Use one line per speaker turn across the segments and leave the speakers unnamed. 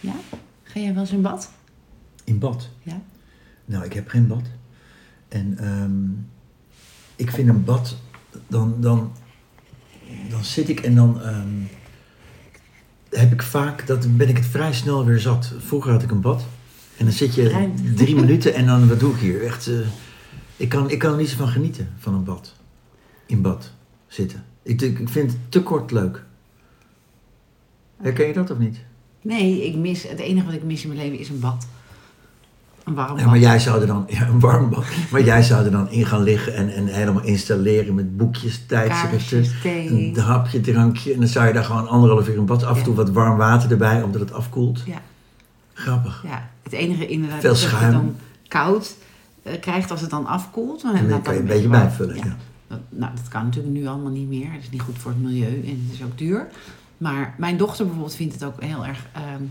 Ja? Ga jij wel eens in bad?
In bad?
Ja.
Nou, ik heb geen bad. En ehm, ik vind een bad, dan, dan, dan zit ik en dan ehm, heb ik vaak, dat ben ik het vrij snel weer zat. Vroeger had ik een bad en dan zit je
Ruim.
drie minuten en dan, wat doe ik hier? Echt, eh, ik, kan, ik kan er niet zo van genieten, van een bad. In bad zitten. Ik, ik vind het te kort leuk. Herken je dat of niet?
Nee, ik mis, het enige wat ik mis in mijn leven is een bad. Een warm bad.
Ja, maar jij zou er dan, ja, een warm bad, maar jij zou er dan in gaan liggen en, en helemaal installeren met boekjes, tijdschriften,
Kaarsjes, thee.
een hapje, drankje. En dan zou je daar gewoon anderhalf uur in bad, af en
Ja.
toe wat warm water erbij, omdat het afkoelt.
Ja,
Grappig.
ja. Het enige inderdaad
Veel
is dat je het
schuim.
dan koud eh, krijgt als het dan afkoelt. Maar
En
laat
dan
dat
kan je een beetje
warm.
bijvullen. Ja.
Dat, nou, dat kan natuurlijk nu allemaal niet meer. Het is niet goed voor het milieu en het is ook duur. Maar mijn dochter bijvoorbeeld vindt het ook heel erg... ehm,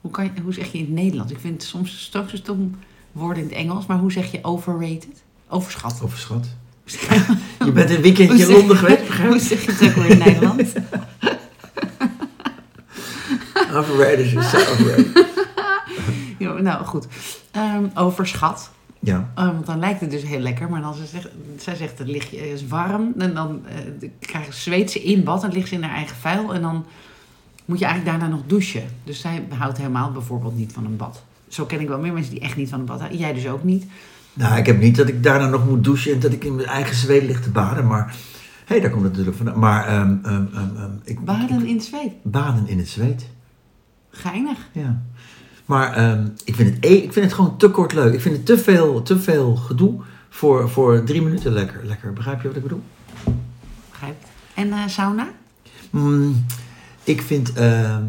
hoe, kan je, hoe zeg je in het Nederlands? Ik vind het soms straks een stom woord in het Engels. Maar hoe zeg je overrated? Overschat.
Overschat. Je bent een weekendje in Londen geweest, begrijp
Hoe
ik?
zeg je het ook weer in Nederland?
Overrated is zo overrated.
Ja, nou, goed. Ehm, overschat.
Ja,
Eh, want dan lijkt het dus heel lekker. Maar dan ze zegt, zij zegt het lichtje is warm. En dan eh krijgen zweet ze in bad. Dan ligt ze in haar eigen vuil. En dan moet je eigenlijk daarna nog douchen. Dus zij houdt helemaal bijvoorbeeld niet van een bad. Zo ken ik wel meer mensen die echt niet van een bad houden. Jij dus ook niet.
nou ik heb niet dat ik daarna nog moet douchen en dat ik in mijn eigen zweet lig te baden, maar... Hé, hey, daar komt het natuurlijk vandaan. Maar ehm, ehm, ehm, ehm, ik,
Baden in het zweet.
baden in het zweet.
Geinig.
Ja. Maar ehm, ik, vind het, e- ik vind het gewoon te kort leuk. Ik vind het te veel, te veel gedoe voor, voor drie minuten lekker, lekker. Begrijp je wat ik bedoel?
Begrijp. En eh, sauna?
Mm, ik vind... ehm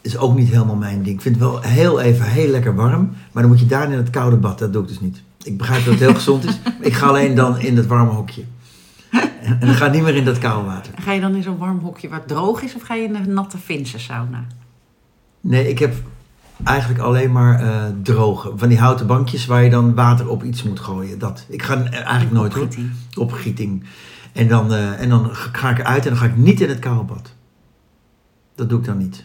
is ook niet helemaal mijn ding. Ik vind het wel heel even heel lekker warm. Maar dan moet je daarna in het koude bad. Dat doe ik dus niet. Ik begrijp dat het heel gezond is. maar Ik ga alleen dan in dat warme hokje. En, en dan ga ik niet meer in dat koude water.
Ga je dan in zo'n warm hokje waar het droog is? Of ga je in een natte Finse sauna?
Nee, ik heb eigenlijk alleen maar eh, droge. Van die houten bankjes waar je dan water op iets moet gooien. Dat. Ik ga eh, eigenlijk nooit hoor.
Opgieting.
opgieting. En dan, eh, en dan ga ik eruit en dan ga ik niet in het koude bad. Dat doe ik dan niet.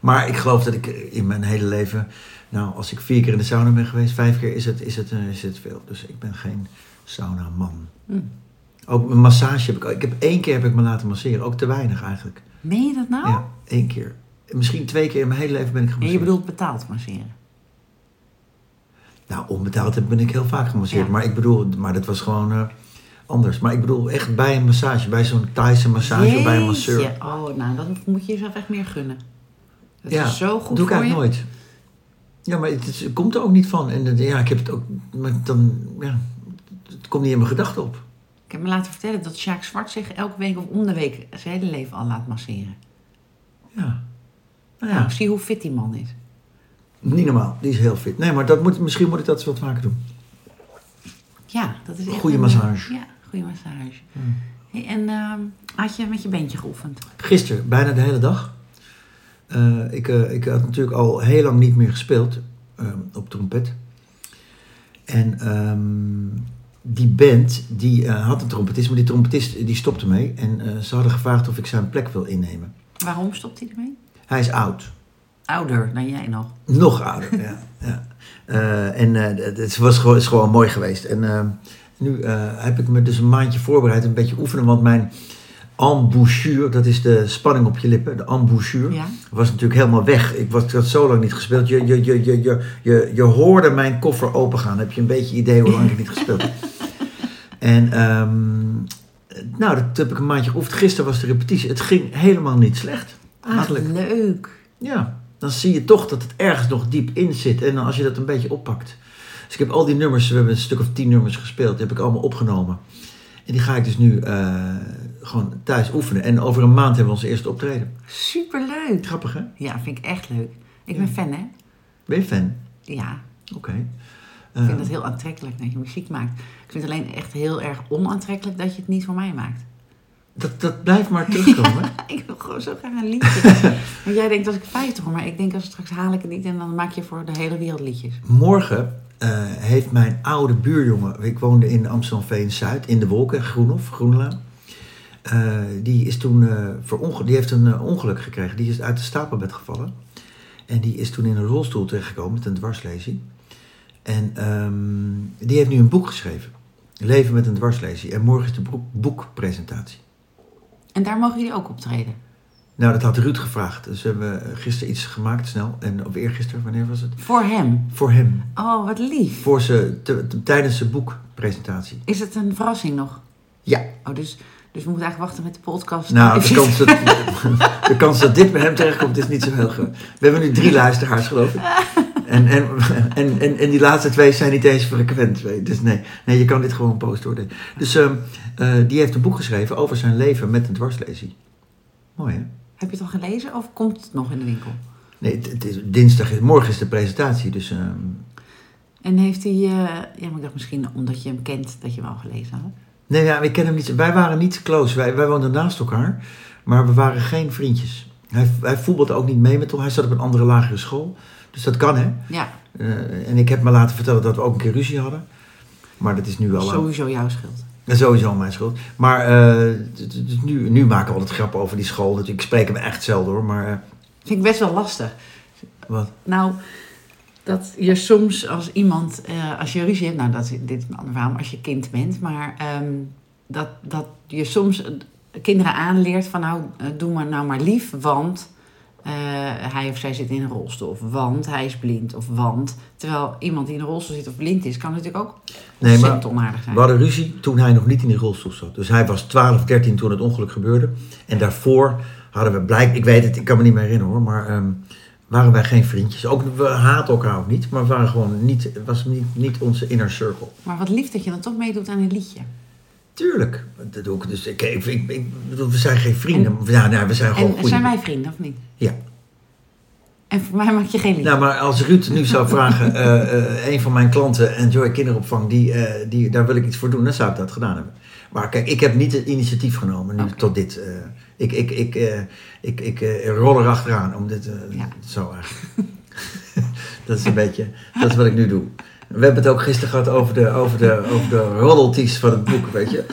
Maar ik geloof dat ik in mijn hele leven... Nou, als ik vier keer in de sauna ben geweest, vijf keer is het, is het, eh, is het veel. Dus ik ben geen saunaman.
Hm.
Ook een massage heb ik... Ik heb één keer heb ik me laten masseren. Ook te weinig eigenlijk.
Meen je dat nou?
Ja, één keer. Misschien twee keer in mijn hele leven ben ik
En
gemasseerd.
je bedoelt betaald masseren?
Nou, onbetaald heb- ben ik heel vaak gemasseerd.
Ja.
Maar ik bedoel, maar dat was gewoon eh, anders. Maar ik bedoel echt bij een massage, bij zo'n Thaise massage of bij een masseur.
Jeetje. Oh, nou, dat moet je jezelf echt meer gunnen. Dat
ja,
is zo goed
doe ik
voor je.
eigenlijk nooit. Ja, maar het, is- het komt er ook niet van. En dat- ja, ik heb het ook, maar dan, ja, het komt niet in mijn gedachten op.
Ik heb me laten vertellen dat Sjaak Zwart zich elke week of om de week zijn hele leven al laat masseren.
Ja. Nou ja,
Nou, zie hoe fit die man is.
niet normaal. Die is heel fit. Nee, maar dat moet, misschien moet ik dat eens wat vaker doen.
Ja, dat is echt...
Goeie
een-
massage.
Ja, goede massage. Hey, en ehm, had je met je bandje geoefend?
Gisteren, bijna de hele dag. Eh, ik, eh, ik had natuurlijk al heel lang niet meer gespeeld eh, op trompet. En ehm, die band, die eh, had een trompetist, maar die trompetist eh, die stopte mee. En eh, ze hadden gevraagd of ik zijn plek wil innemen.
Waarom stopt hij ermee?
Hij is oud.
Ouder dan jij nog.
Nog ouder, ja. ja. Eh, en eh, het- het was gewoon, is gewoon mooi geweest. En eh, nu eh, heb ik me dus een maandje voorbereid, een beetje oefenen. Want mijn embouchure, dat is de spanning op je lippen, de embouchure,
Ja.
was natuurlijk helemaal weg. Ik, was, ik had zo lang niet gespeeld. Je, je, je, je, je, je, je hoorde mijn koffer opengaan. Heb je een beetje idee hoe lang ik niet gespeeld heb? En ehm, nou, dat heb ik een maandje geoefend. Gisteren was de repetitie. Het ging helemaal niet slecht, eigenlijk.
Wat Ah, leuk.
Ja, dan zie je toch dat het ergens nog diep in zit. En als je dat een beetje oppakt. Dus ik heb al die nummers, we hebben een stuk of tien nummers gespeeld, die heb ik allemaal opgenomen. En die ga ik dus nu eh, gewoon thuis oefenen. En over een maand hebben we onze eerste optreden.
Superleuk.
Grappig hè?
Ja, vind ik echt leuk. Ik ben fan, hè?
Ben je fan?
Ja,
Oké.
Ik
Eh,
vind het heel aantrekkelijk dat je muziek maakt. Ik vind het alleen echt heel erg onaantrekkelijk dat je het niet voor mij maakt.
dat, dat blijft maar terugkomen. hè?
Ik wil gewoon zo graag een liedje. Want jij denkt als ik 50 hoor, maar ik denk als straks haal ik het niet en dan maak je voor de hele wereld liedjes.
Morgen eh, heeft mijn oude buurjongen, ik woonde in Amstelveen-Zuid, in de Wolken, Groenhof, Groenlaan. Eh, die, is toen, eh veronge- die heeft een eh, ongeluk gekregen. Die is uit de stapelbed gevallen. En die is toen in een rolstoel terechtgekomen met een dwarslezing. En ehm, die heeft nu een boek geschreven. Leven met een dwarslezing. En morgen is de broek- boekpresentatie.
En daar mogen jullie ook optreden.
Nou, dat had Ruud gevraagd. Dus we hebben gisteren iets gemaakt snel. En, of eergisteren, wanneer was het?
Voor hem.
Voor hem.
Oh, wat lief.
Voor ze, te- te- tijdens zijn boekpresentatie.
Is het een verrassing nog?
Ja.
Oh, dus, dus we moeten eigenlijk wachten met de podcast.
Nou, de kans, dat, de kans dat dit bij hem terechtkomt is niet zo heel groot. We hebben nu drie luisteraars, geloof ik. En, en, en, en, en die laatste twee zijn niet eens frequent. weet je. Dus nee, nee je kan dit gewoon posten. Hoor. Dus ehm, eh, die heeft een boek geschreven over zijn leven met een dwarslesie. Mooi, hè?
Heb je het al gelezen of komt het nog in de winkel?
Nee, het, het is dinsdag, morgen is de presentatie. Dus ehm,
En heeft hij... eh, ja, maar ik dacht misschien omdat je hem kent dat je hem al gelezen had.
nee, ja, ik ken hem niet. Wij waren niet close. Wij, wij woonden naast elkaar, maar we waren geen vriendjes. Hij, hij voetbalde ook niet mee met ons. Hij zat op een andere lagere school. Dus dat kan, hè?
Ja,
Eh, en ik heb me laten vertellen dat we ook een keer ruzie hadden. Maar dat is nu wel eh, lang.
sowieso jouw schuld.
sowieso mijn schuld. Maar eh, d- d- d- nu, nu maken we altijd grappen over die school. Dat- Ik spreek hem echt zelden hoor. Maar eh,
Vind ik best wel lastig.
wat?
Nou, dat je soms als iemand, eh, als je ruzie hebt, nou, dat, is- dit is een ander verhaal, maar als je kind bent, maar ehm, dat, dat je soms eh, kinderen aanleert van nou, eh, doe maar nou maar lief, want eh, hij of zij zit in een rolstoel, of want hij is blind, of want. Terwijl iemand die in een rolstoel zit of blind is, kan natuurlijk ook
Nee,
ontzettend
maar-
onaardig zijn.
We hadden ruzie toen hij nog niet in die rolstoel zat. Dus hij was 12, 13 toen het ongeluk gebeurde. En daarvoor hadden we blijk. Ik weet het, ik kan me niet meer herinneren hoor. Maar ehm, waren wij geen vriendjes. Ook, we haatten elkaar ook niet. Maar we waren gewoon niet, het was niet, niet onze inner circle.
Maar wat lief dat je dan toch meedoet aan een liedje.
Tuurlijk. Dat doe ik. Dus ik, ik, ik, ik bedoel, we zijn geen vrienden. Ja, nou, we zijn gewoon
En
goede
zijn wij vrienden of niet?
Ja.
En voor mij maak je geen lied.
Nou, maar als Ruud nu zou vragen, eh, eh, een van mijn klanten, Enjoy Kinderopvang, die, eh, die, daar wil ik iets voor doen, dan zou ik dat gedaan hebben. Maar kijk, ik heb niet het initiatief genomen nu
Oké.
tot dit. eh, ik ik, ik, eh, ik, ik eh, rol er achteraan om dit eh,
Ja.
zo eigenlijk. dat is een beetje, dat is wat ik nu doe. We hebben het ook gisteren gehad over de, over de, over de roddelties van het boek, weet je.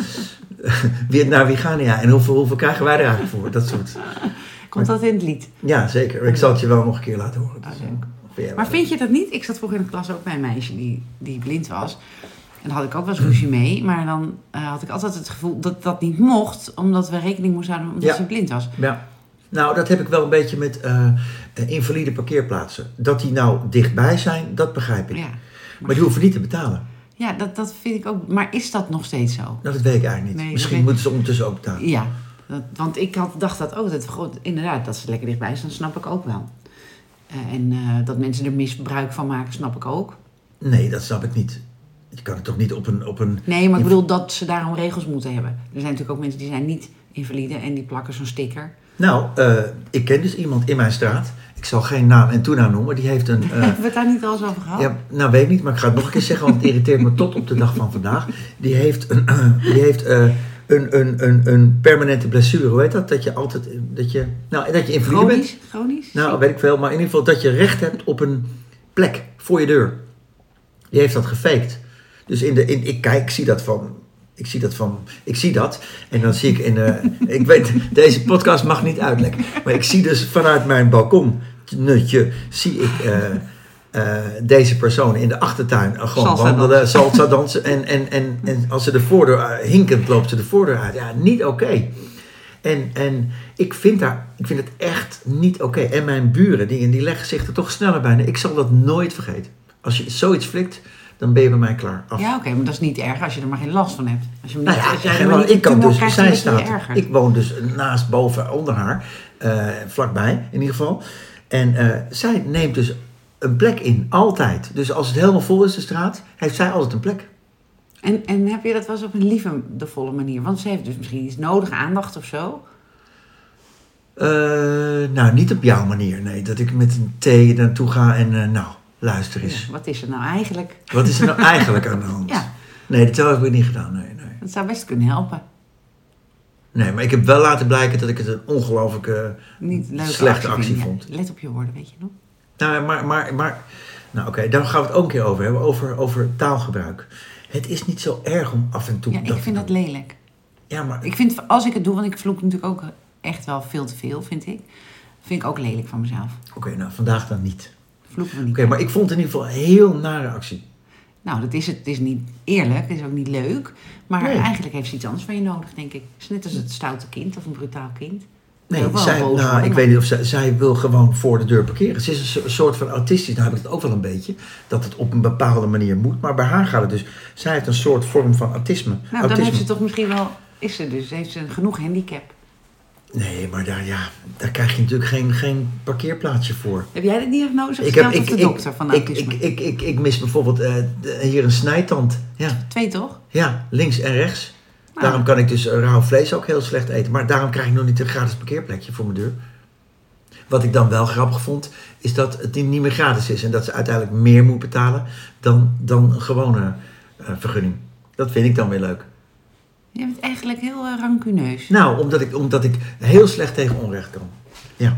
Wie, naar wie gaan die? ja? En hoeveel, hoeveel krijgen wij er eigenlijk voor? Dat soort.
Komt dat in het lied?
Ja, zeker. Ik zal het je wel nog een keer laten horen.
Oh,
Dus,
leuk.
eh, ja,
Maar vind je dat niet? Ik zat vroeger in de klas ook bij een meisje die, die blind was. En daar had ik ook wel eens ruzie mee. Maar dan eh, had ik altijd het gevoel dat dat niet mocht. Omdat we rekening moesten houden omdat
Ja.
ze blind was.
Ja. Nou, dat heb ik wel een beetje met eh, eh, invalide parkeerplaatsen. Dat die nou dichtbij zijn, dat begrijp ik.
Ja,
Maar die hoeven niet te betalen.
ja dat, dat vind ik ook. Maar is dat nog steeds zo?
Nou, dat weet ik eigenlijk niet.
Nee, dat
Misschien
weet ik-
moeten ze ondertussen ook betalen.
Ja. Dat, want ik had, dacht dat ook. Dat, goed, inderdaad, dat ze lekker dichtbij staan, snap ik ook wel. Eh, en eh, dat mensen er misbruik van maken, snap ik ook.
Nee, dat snap ik niet. Je kan het toch niet op een... Op een...
Nee, maar ik bedoel dat ze daarom regels moeten hebben. Er zijn natuurlijk ook mensen die zijn niet invalide en die plakken zo'n sticker.
Nou, eh, ik ken dus iemand in mijn straat. Ik zal geen naam en toenaam noemen. Die heeft een... eh,
Hebben we het daar niet al eens over gehad?
Ja, nou weet ik niet, maar ik ga het nog een keer zeggen, want het irriteert me tot op de dag van vandaag. Die heeft een, die heeft, eh, een, een, een, een permanente blessure, hoe heet dat? Dat je altijd, dat je, nou, dat je invalide bent.
Chronisch? Chronisch?
Nou, weet ik veel, maar in ieder geval dat je recht hebt op een plek voor je deur. Die heeft dat gefaked. Dus in de, in, ik kijk, ik zie dat van, ik zie dat van, ik zie dat. En dan zie ik in, eh, ik weet, deze podcast mag niet uitlekken. Maar ik zie dus vanuit mijn balkon, nutje, zie ik eh, eh, deze persoon in de achtertuin eh, gewoon
Salsa
wandelen, salsa dansen. En, en, en, en als ze de voordeur, eh, hinkend loopt ze de voordeur uit. Ja, niet oké. En, en ik, vind daar, ik vind het echt niet oké. En mijn buren, die, die leggen zich er toch sneller bij. Nee, Ik zal dat nooit vergeten. Als je zoiets flikt, dan ben je bij mij klaar. Af.
Ja, oké, maar dat is niet erg als je er maar geen last van hebt. Als je hem
Nou
niet,
ja,
als jij er
geen
maar
lang-
niet
ik kan
toe
dus,
krijgt,
zij
dan is het
staat,
je erger.
ik woon dus naast, boven, onder haar, eh, vlakbij in ieder geval. En eh, zij neemt dus een plek in, altijd. Dus als het helemaal vol is, de straat, heeft zij altijd een plek.
En, en heb je dat wel eens op een liefdevolle manier? Want ze heeft dus misschien iets nodig, aandacht of zo.
Eh, nou, niet op jouw manier, nee. Dat ik met een thee naartoe ga en eh, nou, luister eens.
Ja, wat is er nou eigenlijk?
Wat is er nou eigenlijk aan de hand?
Ja.
Nee, dat heb ik niet gedaan. Nee, nee.
Dat zou best kunnen helpen.
nee, maar ik heb wel laten blijken dat ik het een ongelooflijke
Niet leuk.
slechte actie
ja.
vond.
Let op je woorden, weet je nog?
Nou, maar, maar, maar, nou oké, daar gaan we het ook een keer over hebben, over, over taalgebruik. Het is niet zo erg om af en toe
Ja, ik
te
vind
doen.
dat lelijk.
Ja, maar
Ik vind, als ik het doe, want ik vloek natuurlijk ook echt wel veel te veel, vind ik. Vind ik ook lelijk van mezelf.
Oké, nou vandaag dan niet. Oké,
Vloeken we niet.
maar ik vond het in ieder geval een heel nare actie.
Nou, dat is het. Het is niet eerlijk, het is ook niet leuk. Maar
Nee.
eigenlijk heeft ze iets anders van je nodig, denk ik. Het is net als het stoute kind of een brutaal kind.
Nee,
Wil wel
zij,
boos
nou,
worden,
ik
maar-
weet niet of zij, zij wil gewoon voor de deur parkeren. Ze is een so- soort van autistisch, nou heb ik het ook wel een beetje, dat het op een bepaalde manier moet. Maar bij haar gaat het dus, zij heeft een soort vorm van autisme.
Nou, dan
autisme.
heeft ze toch misschien wel... Is ze dus, heeft ze een genoeg handicap.
Nee, maar daar, ja, daar krijg je natuurlijk geen, geen parkeerplaatsje voor.
Heb jij de diagnose
Ik,
gesteld of
ik,
de dokter
ik,
van
ik,
autisme?
ik, ik, ik, ik mis bijvoorbeeld eh, de- hier een snijtand. Ja,
Twee toch?
ja, links en rechts.
Ah.
Daarom kan ik dus rauw vlees ook heel slecht eten. Maar daarom krijg ik nog niet een gratis parkeerplekje voor mijn deur. Wat ik dan wel grappig vond, is dat het niet meer gratis is. En dat ze uiteindelijk meer moet betalen dan, dan een gewone eh, vergunning. Dat vind ik dan weer leuk.
Je bent eigenlijk heel eh, rancuneus.
Nou, omdat ik, omdat ik heel slecht tegen onrecht kan. Ja.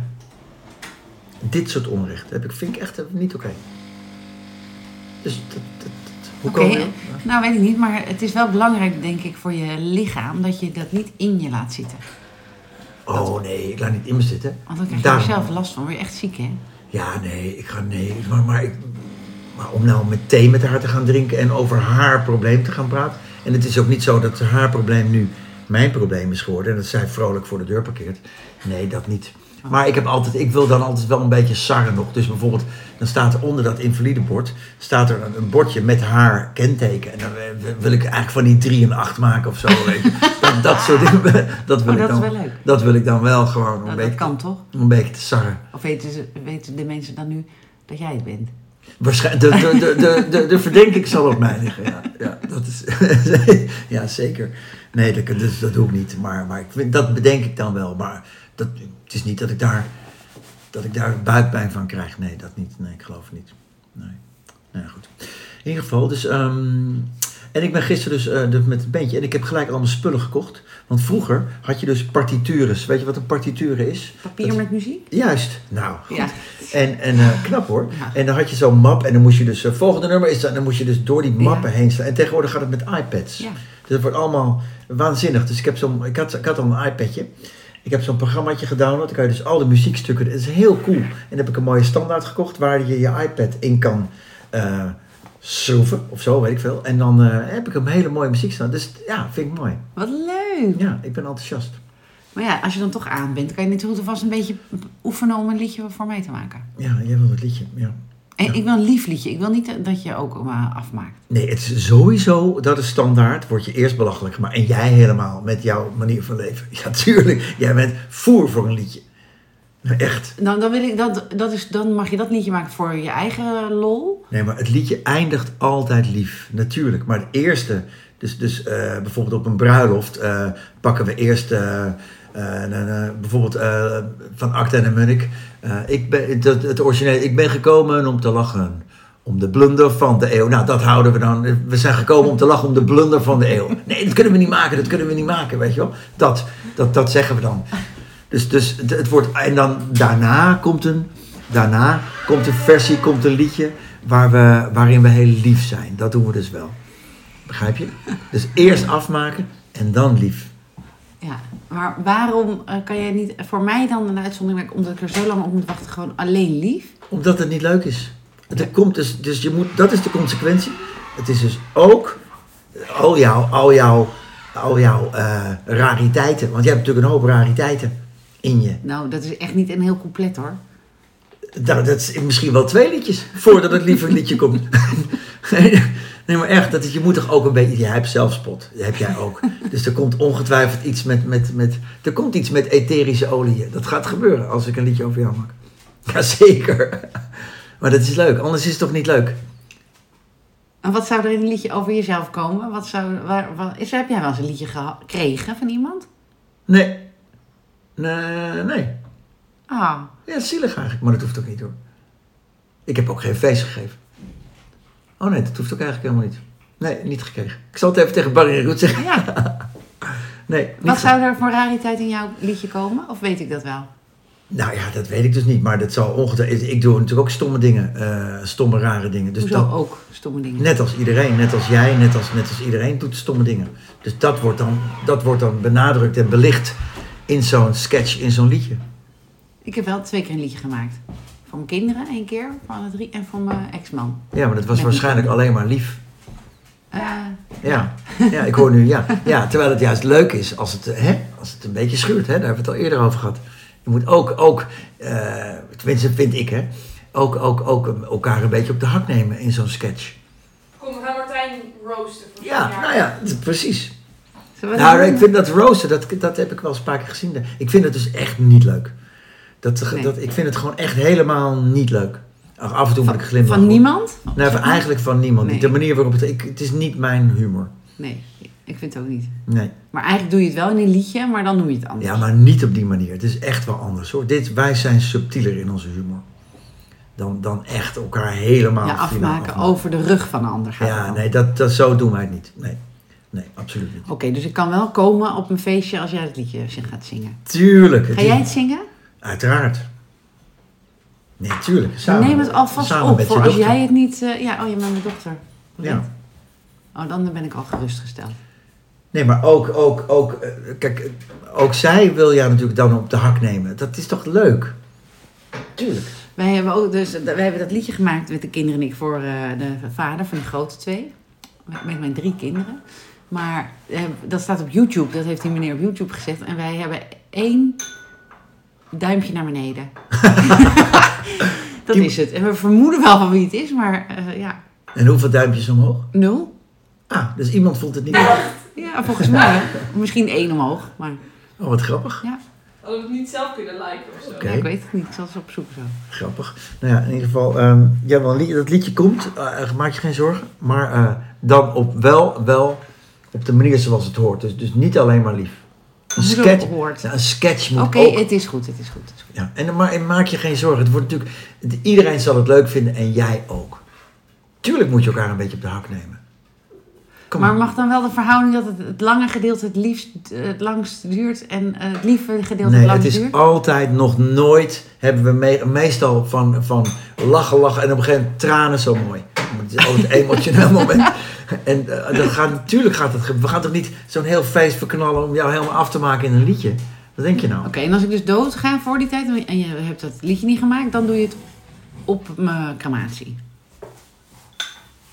Dit soort onrecht heb ik, vind ik echt eh, niet oké. Dus dat, dat, dat- hoe
Oké,
komen we?
nou weet ik niet, maar het is wel belangrijk denk ik voor je lichaam dat je dat niet in je laat zitten.
Oh nee, ik laat niet in me zitten.
Want Oh, dan krijg je er
Daarom.
zelf last van, word je echt ziek hè?
Ja, nee, ik ga nee. Maar, maar, ik, maar om nou meteen met haar te gaan drinken en over haar probleem te gaan praten. En het is ook niet zo dat haar probleem nu mijn probleem is geworden. En dat zij vrolijk voor de deur parkeert. Nee, dat niet. Maar ik, heb altijd, ik wil dan altijd wel een beetje sarren nog. Dus bijvoorbeeld, dan staat er onder dat invalidebord... staat er een, een bordje met haar kenteken. En dan eh, wil ik eigenlijk van die drie een acht maken of zo. Weet je. Dat, dat soort dingen. Dat wil,
Oh,
ik
dat is
dan,
wel leuk.
dat wil ik dan wel gewoon een,
Nou, dat
beetje,
kan toch?
een beetje te sarren.
Of weten, ze, weten de mensen dan nu dat jij het bent?
Waarschijnlijk, de, de, de, de, de verdenking zal op mij liggen. Ja, ja, dat is, ja zeker. Nee, dat, kan- dus dat doe ik niet. Maar, maar ik, vind- dat bedenk ik dan wel. Maar dat, het is niet dat ik, daar, dat ik daar buikpijn van krijg. Nee, dat niet. Nee, ik geloof het niet. Nee. Nou ja, goed. In ieder geval, dus. ehm, en ik ben gisteren dus eh, dus met het bandje en ik heb gelijk allemaal spullen gekocht. Want vroeger had je dus partitures. Weet je wat een partiture is?
Papier
Dat-
met muziek?
Juist. Nou, goed.
Ja.
En, en eh, knap hoor.
Ja.
En dan had je zo'n map en dan moest je dus, eh, volgende nummer is dat, en dan moest je dus door die mappen
Ja.
heen staan. En tegenwoordig gaat het met iPads.
Ja.
Dus dat wordt allemaal waanzinnig. Dus ik, heb zo'n, ik, had, ik had al een iPadje. Ik heb zo'n programmaatje gedownload. Dan kan je dus al de muziekstukken, dat is heel cool. En dan heb ik een mooie standaard gekocht waar je je iPad in kan eh, schroeven of zo, weet ik veel. En dan eh, heb ik een hele mooie muziek staan. Dus ja, vind ik mooi.
Wat leuk!
Ja, ik ben enthousiast.
Maar ja, als je dan toch aan bent, kan je niet zo goed alvast een beetje oefenen om een liedje voor mij te maken.
Ja, jij wil het liedje. Ja.
En ik wil een lief liedje. Ik wil niet dat je ook maar afmaakt.
Nee, het is sowieso, dat is standaard, word je eerst belachelijk gemaakt. En jij helemaal, met jouw manier van leven. Ja, tuurlijk. Jij bent voer voor een liedje. Echt.
Nou, dan, wil ik, dat, dat is, dan mag je dat liedje maken voor je eigen lol.
Nee, maar het liedje eindigt altijd lief. Natuurlijk. Maar het eerste, dus, dus eh, bijvoorbeeld op een bruiloft eh, pakken we eerst... eh, eh, nou, nou, bijvoorbeeld eh, van Acta en de Munnik. Eh, ik ben, dat, het origineel, ik ben gekomen om te lachen. Om de blunder van de eeuw. Nou, dat houden we dan. We zijn gekomen om te lachen om de blunder van de eeuw. Nee, dat kunnen we niet maken, dat kunnen we niet maken, weet je wel. Dat, dat, dat zeggen we dan. Dus, dus het, het wordt. En dan daarna komt een. Daarna komt een versie, komt een liedje. Waar we, waarin we heel lief zijn. Dat doen we dus wel. Begrijp je? Dus eerst afmaken en dan lief.
Ja, maar waarom eh, kan jij niet voor mij dan een uitzondering maken omdat ik er zo lang op moet wachten? Gewoon alleen lief?
Omdat het niet leuk is. Het komt dus, dus je moet, dat is de consequentie. Het is dus ook al jouw, al jouw, al jouw eh, rariteiten. Want jij hebt natuurlijk een hoop rariteiten in je.
Nou, dat is echt niet een heel compleet hoor.
Nou, dat is misschien wel twee liedjes voordat het lieve liedje komt. nee, maar echt, dat is, je moet toch ook een beetje. Jij hebt zelfspot, dat heb jij ook. Dus er komt ongetwijfeld iets met, met, met. Er komt iets met etherische olieën. Dat gaat gebeuren als ik een liedje over jou maak. Jazeker. Maar dat is leuk, anders is het toch niet leuk?
En wat zou er in een liedje over jezelf komen? Wat zou, waar, waar- is, heb jij wel eens een liedje geha- gekregen van iemand?
Nee. Nee, nee.
Ah,
Ja, zielig eigenlijk, maar dat hoeft ook niet hoor. Ik heb ook geen feest gegeven. Oh nee, dat hoeft ook eigenlijk helemaal niet. Nee, niet gekregen. Ik zal het even tegen Barry en Roet zeggen.
ja.
Nee, niet
Wat
ge-
zou er voor rariteit in jouw liedje komen? Of weet ik dat wel?
Nou ja, dat weet ik dus niet, maar dat zal ongetwijfeld... Ik doe natuurlijk ook stomme dingen, eh, stomme rare dingen. Dus
Hoezo
dat,
ook stomme dingen?
net als iedereen, net als jij, net als, net als iedereen doet stomme dingen. Dus dat wordt dan, dat wordt dan benadrukt en belicht in zo'n sketch, in zo'n liedje.
Ik heb wel twee keer een liedje gemaakt. Voor mijn kinderen één keer, voor alle drie en voor mijn ex-man.
Ja, maar dat was
Met
waarschijnlijk alleen maar lief.
Eh,
Ja, ja ik hoor nu ja. ja. Terwijl het juist leuk is als het, eh, hè, als het een beetje schuurt. Hè? Daar hebben we het al eerder over gehad. Je moet ook, ook eh, tenminste vind ik, hè, ook, ook, ook een- elkaar een beetje op de hak nemen in zo'n sketch.
Kom, we gaan Martijn roosten voor
Ja,
vandaag.
nou ja, d- precies.
zullen we
Nou,
dat
ik
doen?
vind dat roosten, dat, dat heb ik wel eens een paar keer gezien. Ik vind het dus echt niet leuk. Dat,
Nee.
dat, ik vind het gewoon echt helemaal niet leuk. Ach, af en toe moet ik
van,
glimlachen.
van niemand?
Nee, van- eigenlijk van niemand.
Nee.
De manier waarop het... Ik, het is niet mijn humor.
Nee, ik vind het ook niet.
Nee.
Maar eigenlijk doe je het wel in een liedje, maar dan noem je het anders.
Ja, maar niet op die manier. Het is echt wel anders hoor. Dit, wij zijn subtieler in onze humor. Dan, dan echt elkaar helemaal
Ja,
finaal
afmaken over de rug van de ander gaat het
Ja,
dan.
nee, dat, dat, zo doen wij het niet. Nee. nee, absoluut niet.
Oké, dus ik kan wel komen op een feestje als jij het liedje zing- gaat zingen.
Tuurlijk. het
Ga
is-
jij het zingen?
Uiteraard. Nee, tuurlijk. Samen,
Neem het alvast
samen
op
met je
voor als
dochter.
jij het niet... eh, ja, oh, je bent mijn dochter.
Ja.
Oh, dan ben ik al gerustgesteld.
Nee, maar ook, ook, ook, eh, kijk, eh, ook zij wil jou natuurlijk dan op de hak nemen. Dat is toch leuk? Tuurlijk.
Wij hebben, ook dus, wij hebben dat liedje gemaakt met de kinderen en ik voor eh, de vader van de grote twee. Met, met mijn drie kinderen. Maar eh, dat staat op YouTube. Dat heeft die meneer op YouTube gezet. En wij hebben één duimpje naar beneden. dat
Die-
is het. En we vermoeden wel van wie het is, maar eh, ja,
En hoeveel duimpjes omhoog?
nul.
Ah, dus iemand vond het niet leuk.
Ja, volgens mij. Misschien één omhoog. Maar
Oh, wat grappig.
ja,
Hadden we het niet zelf kunnen liken of zo.
Oké.
ja, ik weet het niet. Ik zal ze opzoeken zo.
Grappig. Nou ja, in ieder geval, ehm ja, wel een lied- dat liedje komt, eh, eh, maak je geen zorgen. Maar eh, dan op wel, wel op de manier zoals het hoort. Dus, dus niet alleen maar lief. Een
Hoezo
sketch,
hoort?
nou, een sketch moet
Oké,
ook.
het is goed. Het is goed. Het is goed.
Ja, en, maar en maak je geen zorgen. Het wordt natuurlijk, het- iedereen zal het leuk vinden en jij ook. Tuurlijk moet je elkaar een beetje op de hak nemen. Kom
maar
op.
mag dan wel de verhouding dat het, het lange gedeelte het liefst eh, het langst duurt en eh, het lieve gedeelte
Nee,
het
het
langst
is
duurt?
altijd nog nooit hebben we me- meestal van, van lachen, lachen en op een gegeven moment tranen zo mooi. Het is altijd een emotioneel moment. En eh, dat gaat, natuurlijk gaat het. ge- We gaan toch niet zo'n heel feest verknallen om jou helemaal af te maken in een liedje? Wat denk je nou?
Oké, en als ik dus dood ga voor die tijd en je hebt dat liedje niet gemaakt, dan doe je het op mijn crematie.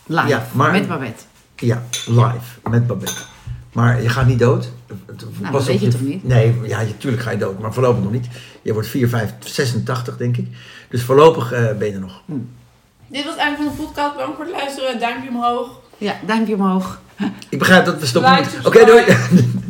Live,
Ja, maar-
met Babette.
Ja, live met Babette. Maar je gaat niet dood. Het-
Nou,
pas
dat
op
weet je toch niet?
Nee, ja, natuurlijk ga je dood, maar voorlopig nog niet. Je wordt 4, 5, 86 denk ik. Dus voorlopig eh, ben je er nog.
Dit was het einde van de podcast. Bedankt voor het luisteren. Duimpje omhoog.
Ja, duimpje omhoog.
Ik begrijp dat we stoppen
Like,
moeten. Oké, doei.